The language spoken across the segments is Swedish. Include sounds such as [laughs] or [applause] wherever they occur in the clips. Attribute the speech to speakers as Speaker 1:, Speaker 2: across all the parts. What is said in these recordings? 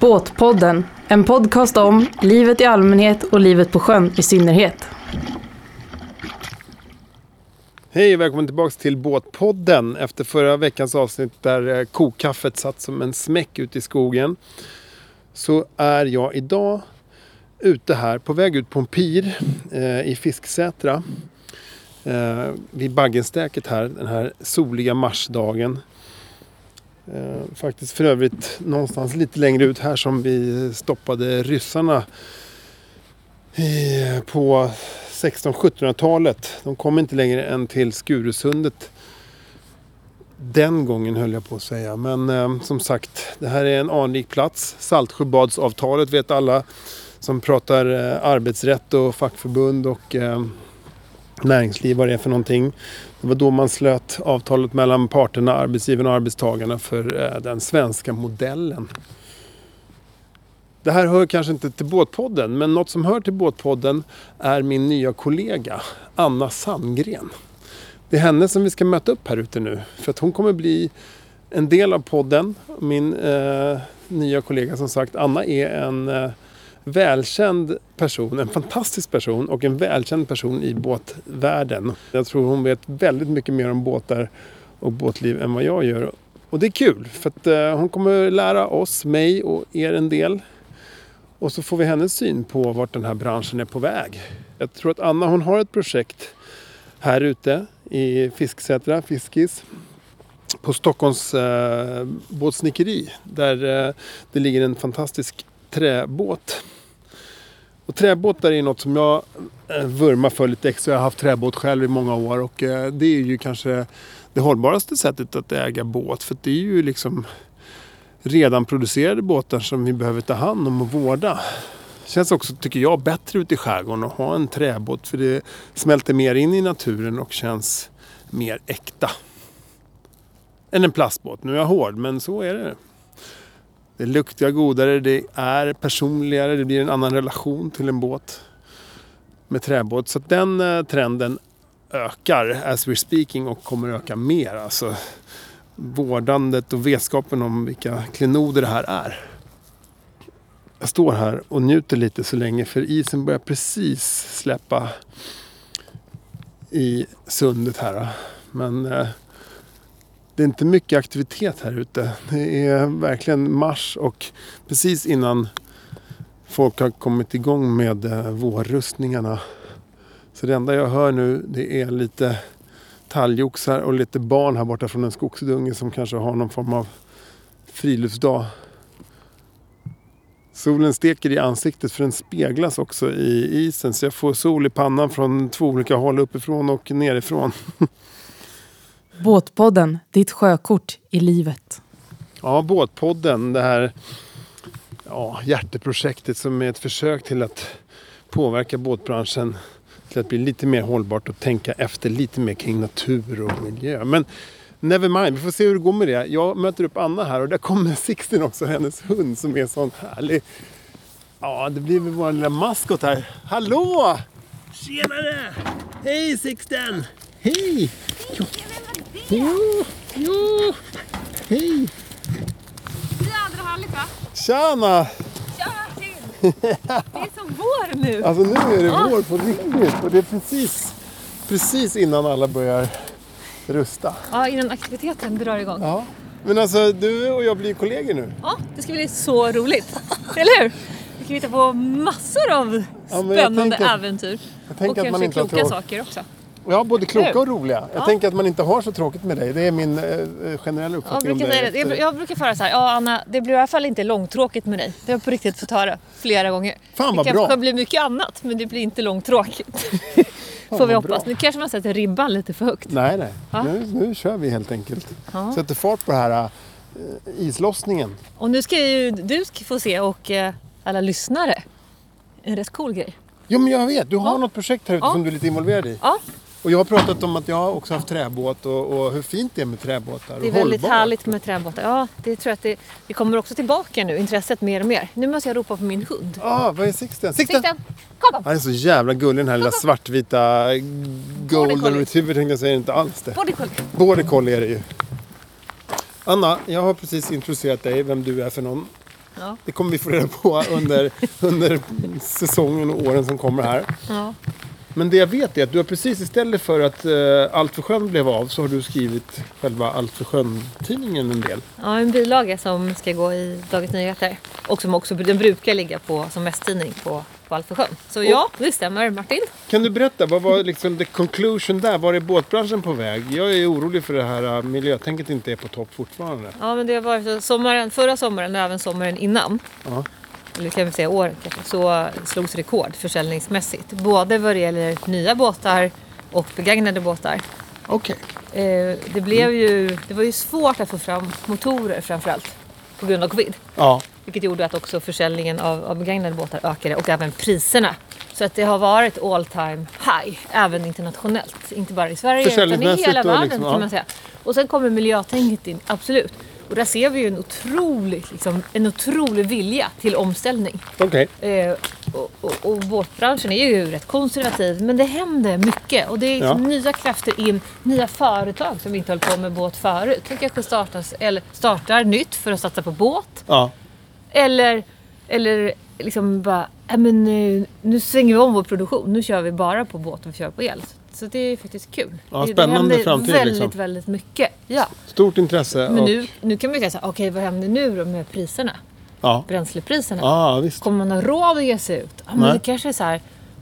Speaker 1: Båtpodden, en podcast om livet i allmänhet och livet på sjön i synnerhet.
Speaker 2: Hej och välkommen tillbaka till Båtpodden. Efter förra veckans avsnitt där eh, kokaffet satt som en smäck ute i skogen. Så är jag idag ute här på väg ut på en pir eh, i Fisksätra. Eh, vid Baggenstäket här den här soliga marsdagen. Eh, faktiskt för övrigt någonstans lite längre ut här som vi stoppade ryssarna i, eh, på 1600-1700-talet. De kom inte längre än till Skurusundet. Den gången höll jag på att säga. Men eh, som sagt, det här är en anrik plats. Saltsjöbadsavtalet vet alla som pratar eh, arbetsrätt och fackförbund och eh, näringsliv vad det är för någonting. Det var då man slöt avtalet mellan parterna, arbetsgivarna och arbetstagarna för eh, den svenska modellen. Det här hör kanske inte till Båtpodden, men något som hör till Båtpodden är min nya kollega Anna Sandgren. Det är henne som vi ska möta upp här ute nu, för att hon kommer bli en del av podden. Min eh, nya kollega som sagt, Anna är en eh, välkänd person, en fantastisk person och en välkänd person i båtvärlden. Jag tror hon vet väldigt mycket mer om båtar och båtliv än vad jag gör. Och det är kul, för att eh, hon kommer lära oss, mig och er en del. Och så får vi hennes syn på vart den här branschen är på väg. Jag tror att Anna hon har ett projekt här ute i Fisksätra, Fiskis. På Stockholms eh, båtsnickeri där eh, det ligger en fantastisk träbåt. Och träbåtar är något som jag eh, vurmar för lite extra. Jag har haft träbåt själv i många år och eh, det är ju kanske det hållbaraste sättet att äga båt. För det är ju liksom redan producerade båtar som vi behöver ta hand om och vårda. Känns också, tycker jag, bättre ute i skärgården att ha en träbåt för det smälter mer in i naturen och känns mer äkta. Än en plastbåt. Nu är jag hård, men så är det. Det luktar godare, det är personligare, det blir en annan relation till en båt med träbåt. Så att den eh, trenden ökar as we're speaking och kommer öka mer. Alltså, vårdandet och vetskapen om vilka klenoder det här är. Jag står här och njuter lite så länge för isen börjar precis släppa i sundet här. Men eh, det är inte mycket aktivitet här ute. Det är verkligen mars och precis innan folk har kommit igång med eh, vårrustningarna. Så det enda jag hör nu det är lite talgoxar och lite barn här borta från en skogsdunge som kanske har någon form av friluftsdag. Solen steker i ansiktet för den speglas också i isen så jag får sol i pannan från två olika håll uppifrån och nerifrån.
Speaker 1: Båtpodden, ditt sjökort i livet.
Speaker 2: Ja, Båtpodden, det här ja, hjärteprojektet som är ett försök till att påverka båtbranschen till att bli lite mer hållbart och tänka efter lite mer kring natur och miljö. Men never mind, vi får se hur det går med det. Jag möter upp Anna här och där kommer Sixten också, hennes hund som är sån härlig. Ja, det blir väl vår lilla maskot här. Hallå! Tjenare! Hej Sixten! Hej! Jo, jo, hej!
Speaker 3: Jädrahärligt va?
Speaker 2: Tjena!
Speaker 3: Tja till! [laughs] Det är som vår nu!
Speaker 2: Alltså nu är det vår på riktigt och det är precis, precis innan alla börjar rusta.
Speaker 3: Ja, innan aktiviteten drar igång.
Speaker 2: Ja. Men alltså du och jag blir kollegor nu.
Speaker 3: Ja, det ska bli så roligt. Eller hur? Vi kan hitta på massor av
Speaker 2: Ja, men jag
Speaker 3: spännande
Speaker 2: tänker-
Speaker 3: äventyr.
Speaker 2: Jag tänker
Speaker 3: och
Speaker 2: att man inte
Speaker 3: kanske
Speaker 2: har
Speaker 3: kloka
Speaker 2: tråkigt.
Speaker 3: saker också.
Speaker 2: Ja, både kloka
Speaker 3: Eller?
Speaker 2: och roliga. Jag
Speaker 3: Ja.
Speaker 2: tänker att man inte har så tråkigt med dig. Det är min eh, eh, generella
Speaker 3: Jag
Speaker 2: uppfattning
Speaker 3: brukar,
Speaker 2: om dig.
Speaker 3: säga det. Jag bru- jag brukar föra så här, ja Anna, det blir i alla fall inte långtråkigt med dig. Det har jag på riktigt fått höra flera gånger.
Speaker 2: Fan, vad
Speaker 3: det
Speaker 2: bra.
Speaker 3: kanske blir mycket annat, men det blir
Speaker 2: [laughs]
Speaker 3: inte långtråkigt. Får
Speaker 2: vad
Speaker 3: vi
Speaker 2: bra.
Speaker 3: hoppas. Nu kanske man sätter ribban lite för högt.
Speaker 2: Nej, nej.
Speaker 3: Ja.
Speaker 2: Nu, nu kör vi helt enkelt.
Speaker 3: Ja.
Speaker 2: Sätter fart på den här eh, islossningen.
Speaker 3: Och nu ska ju du ska få se och eh, alla lyssnare en rätt cool grej.
Speaker 2: Jo, men jag vet. Du har något projekt här ute
Speaker 3: Ja.
Speaker 2: som du är lite involverad i.
Speaker 3: Ja,
Speaker 2: Och jag har pratat om att jag har också haft träbåt och, och hur fint det är med träbåtar.
Speaker 3: det är
Speaker 2: och
Speaker 3: väldigt
Speaker 2: hållbart.
Speaker 3: härligt med träbåtar. Ja, det tror jag att det, det kommer också tillbaka nu, intresset mer och mer. Nu måste jag ropa på min hund.
Speaker 2: Ah, vad är Sixten? Sixten!
Speaker 3: Sixten, kom!
Speaker 2: Han är så jävla gullig den här
Speaker 3: [laughs]
Speaker 2: lilla svartvita
Speaker 3: Border
Speaker 2: golden
Speaker 3: collie.
Speaker 2: retriever tänkte jag säga, inte alls det.
Speaker 3: Body cool.
Speaker 2: Border collie är det ju. Anna, jag har precis introducerat dig, vem du är för någon.
Speaker 3: Ja.
Speaker 2: Det kommer vi få reda på
Speaker 3: [laughs]
Speaker 2: under, under säsongen och åren som kommer här.
Speaker 3: Ja.
Speaker 2: Men det jag vet är att du har precis istället för att eh, Allt för sjön blev av så har du skrivit själva Allt för sjön-tidningen en del.
Speaker 3: ja, en bilaga som ska gå i Dagens Nyheter. Och som också den brukar ligga på, som mästtidning på, på Alfasjön. Så ja, det stämmer Martin.
Speaker 2: Kan du berätta, vad var liksom the conclusion där? Var är båtbranschen på väg? Jag är orolig för det här eh, miljötänket inte är på topp fortfarande.
Speaker 3: Ja, men det har varit så- sommaren, förra sommaren och även sommaren innan.
Speaker 2: Ja.
Speaker 3: eller kan vi säga år kanske, så slogs rekord försäljningsmässigt. Både vad det gäller nya båtar och begagnade båtar.
Speaker 2: Okej.
Speaker 3: Eh, det, blev ju, det var ju svårt att få fram motorer framförallt på grund av covid.
Speaker 2: Ja.
Speaker 3: Vilket gjorde att också försäljningen av, av begagnade båtar ökade och även priserna. Så att det har varit all time high, även internationellt. Inte bara i Sverige utan i
Speaker 2: Försäljningsmässigt
Speaker 3: hela
Speaker 2: och
Speaker 3: världen
Speaker 2: liksom, ja.
Speaker 3: kan man säga. Och sen kommer miljötänket in, absolut. Och där ser vi ju en otrolig, liksom, en otrolig vilja till omställning.
Speaker 2: Okej.
Speaker 3: Eh, och, och, och båtbranschen är ju rätt konservativ, men det händer mycket. Och det är liksom
Speaker 2: Ja.
Speaker 3: nya krafter in, nya företag som inte höll på med båt förut. Som kanske startas, eller startar nytt för att satsa på båt.
Speaker 2: Ja.
Speaker 3: Eller, eller liksom bara, "Nej, men nu, nu svänger vi om vår produktion. Nu kör vi bara på båt och vi kör på el. Så det är faktiskt kul.
Speaker 2: Ja,
Speaker 3: Det-
Speaker 2: spännande
Speaker 3: det händer
Speaker 2: framtid,
Speaker 3: väldigt,
Speaker 2: liksom.
Speaker 3: väldigt mycket. Ja.
Speaker 2: Stort intresse.
Speaker 3: Men
Speaker 2: och,
Speaker 3: nu, nu kan man ju säga så här, okej vad händer nu då med priserna?
Speaker 2: Ja.
Speaker 3: Bränslepriserna?
Speaker 2: Ja, visst.
Speaker 3: Kommer man ha råd att ge sig ut? Ja, men
Speaker 2: Nej.
Speaker 3: det kanske är så här,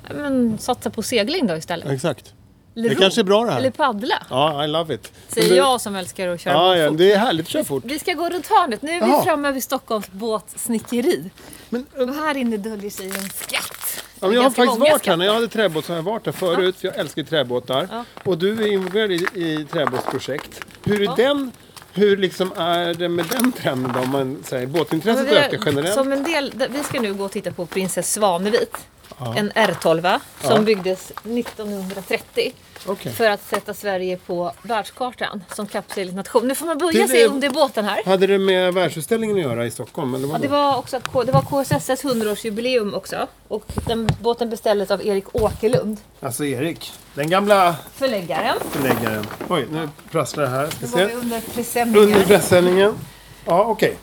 Speaker 3: ja, men satsa på segling då istället.
Speaker 2: Exakt.
Speaker 3: Eller
Speaker 2: Det
Speaker 3: ro.
Speaker 2: kanske är bra det här.
Speaker 3: Eller paddla.
Speaker 2: Ja, I love it. Men
Speaker 3: Säger
Speaker 2: du-
Speaker 3: jag som älskar att köra
Speaker 2: Ja,
Speaker 3: båt
Speaker 2: ja,
Speaker 3: fort.
Speaker 2: det är härligt att köra fort.
Speaker 3: Vi ska gå runt hörnet. Nu är vi
Speaker 2: Jaha.
Speaker 3: framme vid Stockholms båtsnickeri.
Speaker 2: Men, eh,
Speaker 3: Och här inne döljer sig en skatt.
Speaker 2: Ja, men jag har
Speaker 3: Ganska
Speaker 2: faktiskt varit
Speaker 3: många
Speaker 2: här.
Speaker 3: skatter.
Speaker 2: När jag hade träbåt så har jag varit här förut. För jag älskar ju träbåtar.
Speaker 3: Ja.
Speaker 2: Och du är involverad i, i träbåtsprojekt. Hur är den... Hur liksom är det med den trenden då, om man säger båtintresset
Speaker 3: Men vi har-
Speaker 2: ökar generellt?
Speaker 3: Som en del, vi ska nu gå och titta på Prinsess Svanevit. En R12 som
Speaker 2: Ja.
Speaker 3: byggdes 1930
Speaker 2: Okej.
Speaker 3: för att sätta Sverige på världskartan som kapselnation. Nu får man böja
Speaker 2: Det-
Speaker 3: sig under båten här.
Speaker 2: Hade det med världsutställningen att göra i Stockholm? Eller
Speaker 3: Ja,
Speaker 2: vad
Speaker 3: det
Speaker 2: då?
Speaker 3: var också att K- det var KSSs 100-årsjubileum också. Och den båten beställdes av Erik Åkerlund,
Speaker 2: Alltså Erik, den gamla
Speaker 3: förläggaren.
Speaker 2: förläggaren. Oj, nu prasslar det här. Ska
Speaker 3: Då var
Speaker 2: se.
Speaker 3: vi under
Speaker 2: Under
Speaker 3: presenningen.
Speaker 2: pressändningen. Ja, okej.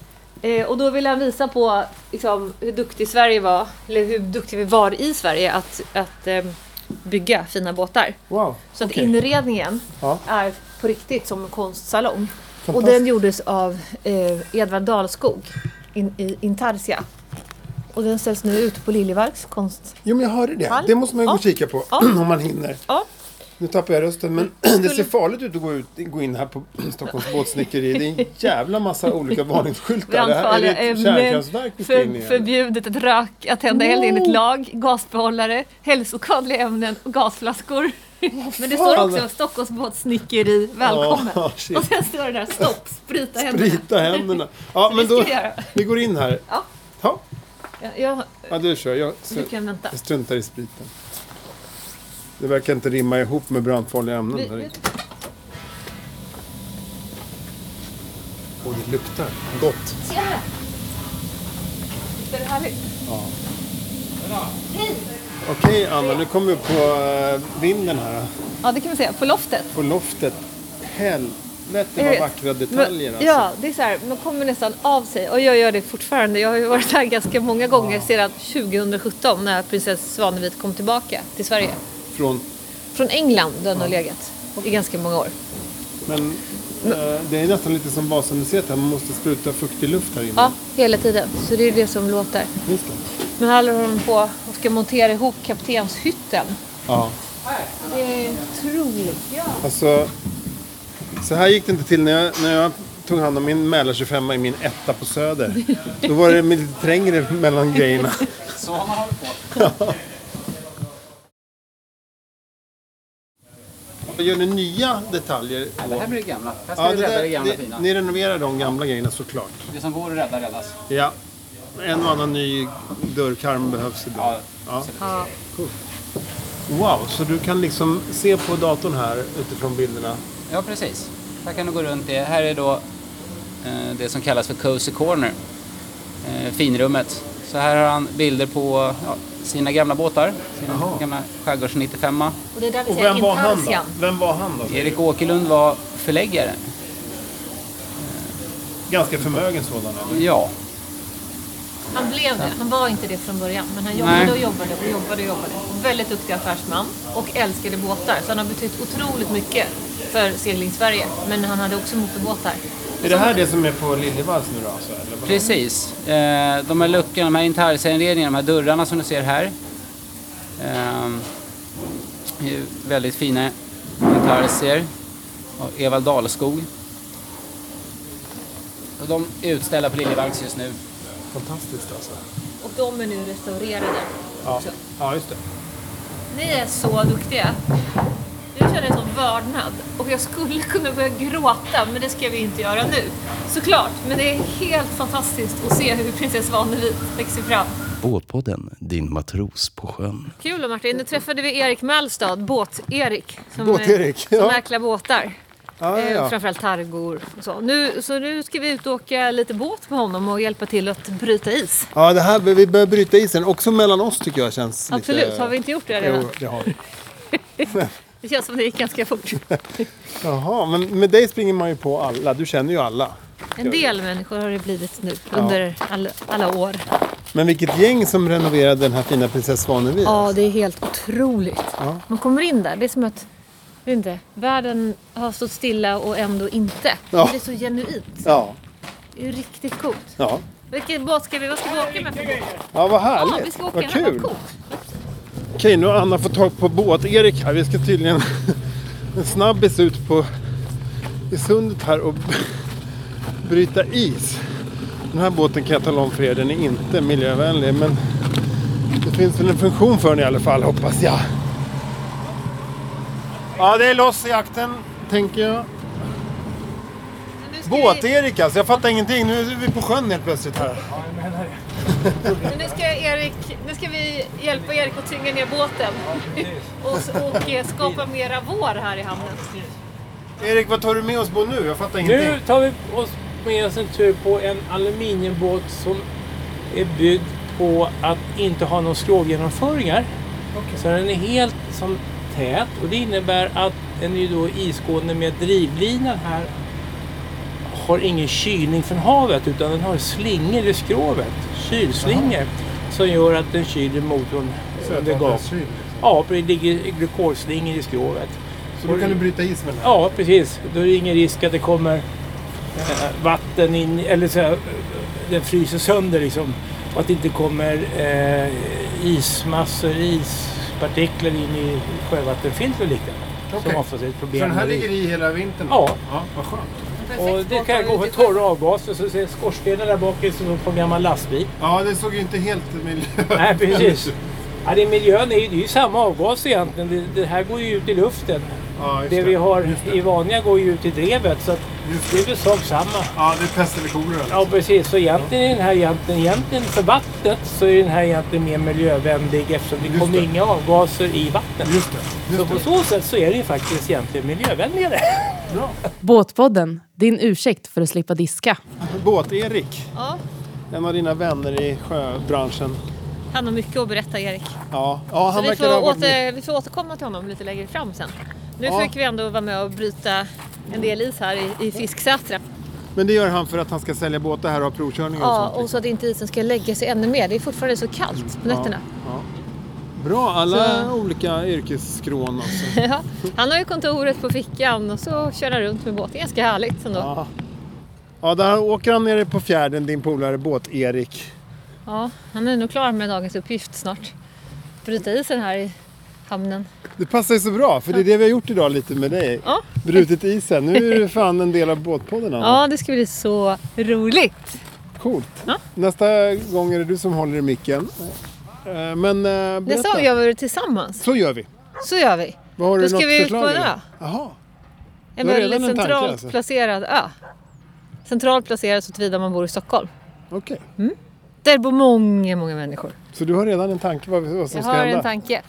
Speaker 3: Eh, och då ville han visa på liksom, hur duktig Sverige var, eller hur duktig vi var i Sverige att, att eh, bygga fina båtar.
Speaker 2: Wow.
Speaker 3: Så att
Speaker 2: Okej.
Speaker 3: inredningen
Speaker 2: Ja.
Speaker 3: är på riktigt som en konstsalong. Och den gjordes av eh, Edvard Dalskog in, i Intarsia. Och den ställs nu ut på Liljevalchs konst...
Speaker 2: Jo, men jag hörde det.
Speaker 3: Halv?
Speaker 2: Det måste man ju gå och
Speaker 3: Ja.
Speaker 2: kika på
Speaker 3: Ja.
Speaker 2: [clears throat] om man hinner.
Speaker 3: Ja,
Speaker 2: Nu tappar jag rösten, men [clears throat] det ser farligt ut att gå, ut, gå in här på [clears throat] Stockholms båtsnickeri. Det är en
Speaker 3: [laughs]
Speaker 2: jävla massa olika varningsskyltar. Det här är
Speaker 3: brandfarliga
Speaker 2: ett
Speaker 3: ämnen,
Speaker 2: kärnkraftverk vi ska in
Speaker 3: eh, för,
Speaker 2: i. eller?
Speaker 3: förbjudet att röka, att tända eld enligt lag, gasbehållare, hälsoskadliga ämnen och gasflaskor. [laughs] Men det står
Speaker 2: fan?
Speaker 3: också Stockholms båtsnickeri, välkommen.
Speaker 2: Ja, [laughs] shit.
Speaker 3: [laughs] och sen står det där stopp, sprita händerna.
Speaker 2: Sprita händerna.
Speaker 3: [laughs]
Speaker 2: Ja, men
Speaker 3: ska
Speaker 2: då,
Speaker 3: vi göra.
Speaker 2: vi går in här.
Speaker 3: Ja.
Speaker 2: Ja,
Speaker 3: Jag, jag,
Speaker 2: ja du kör. Jag,
Speaker 3: du kan vänta.
Speaker 2: jag struntar i spriten. Det verkar inte rimma ihop med brandfarliga ämnen.
Speaker 3: Vi,
Speaker 2: där
Speaker 3: vi,
Speaker 2: i. Åh, det luktar gott.
Speaker 3: se här! Visst är det härligt?
Speaker 2: Okej, Anna, nu kommer vi upp på eh, vinden här.
Speaker 3: Ja, det kan man säga. På loftet.
Speaker 2: På loftet. Helvete
Speaker 3: Jag
Speaker 2: vad
Speaker 3: vet.
Speaker 2: vackra
Speaker 3: Eh, Men-
Speaker 2: detaljer. Alltså.
Speaker 3: Ja, det är så här, man kommer nästan av sig och jag gör det fortfarande. Jag har ju varit här ganska många gånger sedan 2017 när prinsess Svanevit kom tillbaka till Sverige.
Speaker 2: Från
Speaker 3: Från England där den har legat i ganska många år.
Speaker 2: Men eh, det är nästan lite som Vasamuseet här, man måste spruta fuktig luft här inne.
Speaker 3: Ja, hela tiden. Så det är det som låter.
Speaker 2: Just det.
Speaker 3: Men här håller de på och ska montera ihop kaptenshytten.
Speaker 2: Ja.
Speaker 3: Det är otroligt.
Speaker 2: Alltså, så här gick det inte till när jag, när jag tog hand om min Mälar 25 i min etta på Söder. Då var det lite trängre mellan
Speaker 4: [laughs]
Speaker 2: grejerna.
Speaker 4: Så har man hållit på.
Speaker 2: Gör ni nya detaljer?
Speaker 4: Det här blir det gamla. Här ska
Speaker 2: Ja,
Speaker 4: vi
Speaker 2: det
Speaker 4: rädda
Speaker 2: där,
Speaker 4: det gamla
Speaker 2: ni,
Speaker 4: fina.
Speaker 2: ni renoverar de gamla grejerna såklart.
Speaker 4: Det som går att rädda räddas.
Speaker 2: Ja. En och annan ny dörrkarm behövs ibland.
Speaker 4: Ja.
Speaker 2: Ja.
Speaker 3: Ja.
Speaker 2: Wow, så du kan liksom se på datorn här utifrån bilderna?
Speaker 4: ja, precis. Här kan du gå runt det. Här är då eh, det som kallas för Cozy Corner. Eh, finrummet. Så här har han bilder på ja, sina gamla båtar. Sina
Speaker 2: Jaha.
Speaker 4: gamla Skärgårds 95
Speaker 3: Och det är där vi
Speaker 2: Och
Speaker 3: säger
Speaker 2: vem var han då?
Speaker 3: Intarsian.
Speaker 2: Vem var han då?
Speaker 4: Erik Åkerlund var förläggare.
Speaker 2: Ganska förmögen sådan. eller?
Speaker 4: Ja.
Speaker 3: Han blev det. Han var inte det från början. Men han
Speaker 4: Nej.
Speaker 3: jobbade och jobbade och jobbade och jobbade. Och väldigt duktig affärsman. Och älskade båtar. Så han har betytt otroligt mycket för segling Sverige. Men han hade också motorbåtar.
Speaker 2: Är det här det som är på Liljevalchs nu då? Alltså, eller? vad?
Speaker 4: Precis. Eh, de här luckorna, de här intarsierinredningarna, de här dörrarna som du ser här. Ehm, är ju väldigt fina intarsier av Evald Dahlskog. Och de är utställda på Liljevalchs just nu.
Speaker 2: Fantastiskt alltså.
Speaker 3: Och de är nu restaurerade.
Speaker 2: Ja,
Speaker 3: också.
Speaker 2: ja just det.
Speaker 3: Ni är så duktiga. Jag känner en sån vördnad. Och jag skulle kunna börja gråta, men det ska vi inte göra nu. Såklart, men det är helt fantastiskt att se hur prinsess Vanevit växer fram.
Speaker 5: Båtpodden, din matros på sjön.
Speaker 3: Kul Martin, nu träffade vi Erik Mälstad, Båt-Erik. Som,
Speaker 2: Båt-Erik,
Speaker 3: Som
Speaker 2: ja.
Speaker 3: mäklar båtar.
Speaker 2: Ja, ja,
Speaker 3: Eh,
Speaker 2: ja.
Speaker 3: Framförallt targor och så. Nu, så nu ska vi ut och åka lite båt med honom och hjälpa till att bryta is.
Speaker 2: ja, det här, vi börjar bryta isen. Också mellan oss tycker jag känns
Speaker 3: Absolut,
Speaker 2: lite...
Speaker 3: har vi inte gjort det redan?
Speaker 2: Jo, det har vi.
Speaker 3: Det känns som det gick
Speaker 2: [laughs]
Speaker 3: ganska fort.
Speaker 2: Jaha, men med dig springer man ju på alla. Du känner ju alla.
Speaker 3: En del människor har det blivit nu under alla, alla år.
Speaker 2: Men vilket gäng som renoverade den här fina prinsess Svanevik.
Speaker 3: Ja, det är helt otroligt.
Speaker 2: Ja.
Speaker 3: Man kommer in där, det är som att jag vet inte, världen har stått stilla och ändå inte.
Speaker 2: Ja.
Speaker 3: Det är så genuint.
Speaker 2: Ja.
Speaker 3: Det är ju riktigt coolt.
Speaker 2: Ja.
Speaker 3: Vilken båt ska vi, vad ska vi åka med för båt?
Speaker 2: ja, vad
Speaker 3: Ja,
Speaker 2: härligt.
Speaker 3: vi ska åka
Speaker 2: vad
Speaker 3: den här,
Speaker 2: kul.
Speaker 3: vad coolt.
Speaker 2: Okej, nu har Anna fått tag på båt-Erik här. Vi ska tydligen [laughs] en snabbis ut på i sundet här och [laughs] bryta is. Den här båten kan jag tala om för er, den är inte miljövänlig men det finns väl en funktion för den i alla fall hoppas jag. Ja, det är loss i akten tänker jag.
Speaker 3: Men nu ska vi-
Speaker 2: Båt-Erik alltså, jag fattar ingenting. Nu är vi på sjön helt plötsligt här.
Speaker 3: men Nu ska, Erik, nu ska vi hjälpa Erik att tynga ner båten och, s- och eh, skapa mera vår här i hamnen.
Speaker 2: Erik, vad tar du med oss på nu? Jag fattar ingenting.
Speaker 6: Nu tar vi oss med oss en tur på en aluminiumbåt som är byggd på att inte ha några skrovgenomföringar. Så den är helt som tät och det innebär att den är ju då isgående med drivlinan här har ingen kylning från havet utan den har slingor i skrovet, kylslingor, som gör att den kyler motorn under gång. Ja, det ligger glykolslingor i skrovet.
Speaker 2: Så då kan du bryta is med den här.
Speaker 6: Ja, precis. Då är det ingen risk att det kommer eh, vatten in, eller så här, eh, den fryser sönder liksom. Och att det inte kommer eh, ismassor, ispartiklar in i sjövattenfilter och liknande.
Speaker 2: Okej.
Speaker 6: Som oftast är ett problem.
Speaker 2: Så den här
Speaker 6: med det.
Speaker 2: ligger i hela vintern?
Speaker 6: Ja.
Speaker 2: ja vad skönt.
Speaker 6: Och det kan gå för torra avgaser. Så ser skorstenen där bak ut som på en gammal lastbil. [laughs]
Speaker 2: Ja, det såg ju inte helt miljö...
Speaker 6: Nej, precis. Ja, det är miljön är ju, det är ju samma avgas egentligen. Det, det här går ju ut i luften.
Speaker 2: [laughs] Ja, just
Speaker 6: Det
Speaker 2: det.
Speaker 6: vi har i Vanja går ju ut i drevet. Så att det är väl sak samma.
Speaker 2: Ja, det är pest eller kolera.
Speaker 6: Ja precis, så egentligen är den här egentligen, egentligen för vattnet så är den här egentligen mer miljövänlig eftersom det
Speaker 2: Just
Speaker 6: kommer
Speaker 2: det.
Speaker 6: inga avgaser i vattnet.
Speaker 2: Just det.
Speaker 6: Så på så sätt så är det ju faktiskt egentligen miljövänligare.
Speaker 1: Båtpodden, din ursäkt för att slippa diska.
Speaker 2: Båt-Erik,
Speaker 3: Ja,
Speaker 2: en av dina vänner i sjöbranschen.
Speaker 3: han har mycket att berätta Erik.
Speaker 2: Ja, ja han
Speaker 3: Så vi
Speaker 2: verkar ha
Speaker 3: får,
Speaker 2: varit med.
Speaker 3: åter, vi får återkomma till honom lite längre fram sen. Nu
Speaker 2: Ja.
Speaker 3: fick vi ändå vara med och bryta en del is här i, i Fisksätra.
Speaker 2: Men det gör han för att han ska sälja båtar här och ha provkörningar
Speaker 3: Ja,
Speaker 2: och
Speaker 3: och
Speaker 2: sånt.
Speaker 3: så att inte isen ska lägga sig ännu mer. Det är fortfarande så kallt på nätterna.
Speaker 2: Ja. Bra, alla
Speaker 3: Så-
Speaker 2: olika yrkesskrån alltså.
Speaker 3: Ja. Han har ju kontoret på fickan och så kör han runt med båten. Ganska härligt ändå. Ja.
Speaker 2: Ja. ja, där åker han nere på fjärden, din polare Båt-Erik.
Speaker 3: han är nog klar med dagens uppgift snart. Bryta isen här i hamnen.
Speaker 2: Det passar ju så bra, för det är det vi har gjort idag lite med dig.
Speaker 3: Ja.
Speaker 2: Brutit isen. Nu är du fan en del av båtpodden Anna.
Speaker 3: Ja, det ska bli så roligt.
Speaker 2: Coolt.
Speaker 3: Ja.
Speaker 2: Nästa gång är det du som håller i micken. Eh, Men eh, berätta.
Speaker 3: Nästa gång gör vi det tillsammans.
Speaker 2: Så gör vi.
Speaker 3: Så gör vi.
Speaker 2: Vad har
Speaker 3: Då
Speaker 2: du
Speaker 3: ska
Speaker 2: något
Speaker 3: vi ut
Speaker 2: förslag?
Speaker 3: på en
Speaker 2: eller?
Speaker 3: ö.
Speaker 2: Jaha.
Speaker 3: En
Speaker 2: Du har
Speaker 3: väldigt
Speaker 2: redan en tanke,
Speaker 3: centralt
Speaker 2: alltså.
Speaker 3: placerad ö. Centralt placerad så tillvida man bor i Stockholm.
Speaker 2: Okej.
Speaker 3: Där bor många, många människor.
Speaker 2: Så du har redan en tanke vad, vad som
Speaker 3: Jag
Speaker 2: ska
Speaker 3: har
Speaker 2: hända?
Speaker 3: en tanke.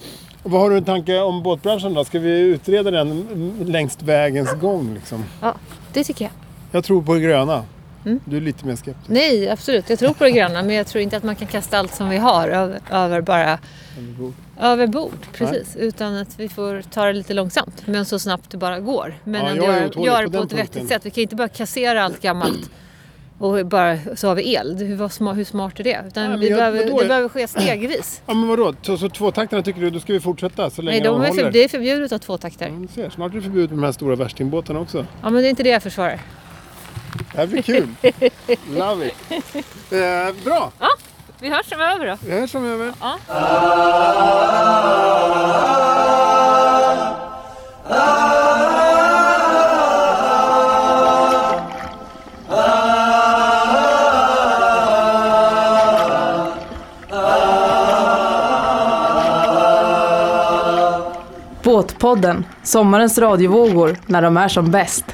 Speaker 2: Vad har du en tanke om båtbranschen då? Ska vi utreda den mm, längs vägens gång liksom?
Speaker 3: Ja, det tycker jag.
Speaker 2: Jag tror på det gröna.
Speaker 3: Mm.
Speaker 2: Du är lite mer skeptisk.
Speaker 3: Nej, absolut. Jag tror på det gröna, men jag tror inte att man kan kasta allt som vi har över, över bara... Över
Speaker 2: bord.
Speaker 3: precis. Utan att vi får ta det lite långsamt, men så snabbt det bara går. Men
Speaker 2: Ja,
Speaker 3: ändå
Speaker 2: jag är
Speaker 3: göra
Speaker 2: otålig
Speaker 3: gör
Speaker 2: på
Speaker 3: det på
Speaker 2: den
Speaker 3: ett vettigt
Speaker 2: punkten.
Speaker 3: sätt. Vi kan inte bara kassera allt gammalt och bara så har vi el. Hur, vad sma- hur smart är det? Utan
Speaker 2: Nej, men
Speaker 3: vi
Speaker 2: jag-
Speaker 3: behöver,
Speaker 2: vadå?
Speaker 3: det behöver ske stegvis.
Speaker 2: Ja men vadå, så, så tvåtakterna tycker du, då ska vi fortsätta så länge
Speaker 3: Nej, de
Speaker 2: de
Speaker 3: är
Speaker 2: håller? Mm.
Speaker 3: för, det är förbjudet att ha två
Speaker 2: Ja,
Speaker 3: takter.
Speaker 2: du ser, snart är det förbjudet med de här stora värstingbåtarna också.
Speaker 3: Ja, men det är inte det jag försvarar.
Speaker 2: Det här blir
Speaker 3: [laughs]
Speaker 2: kul. Love it. Eh, bra,
Speaker 3: Vi hörs framöver då.
Speaker 2: det här som jag med.
Speaker 3: Ja.
Speaker 1: Båtpodden, sommarens radiovågor när de är som bäst.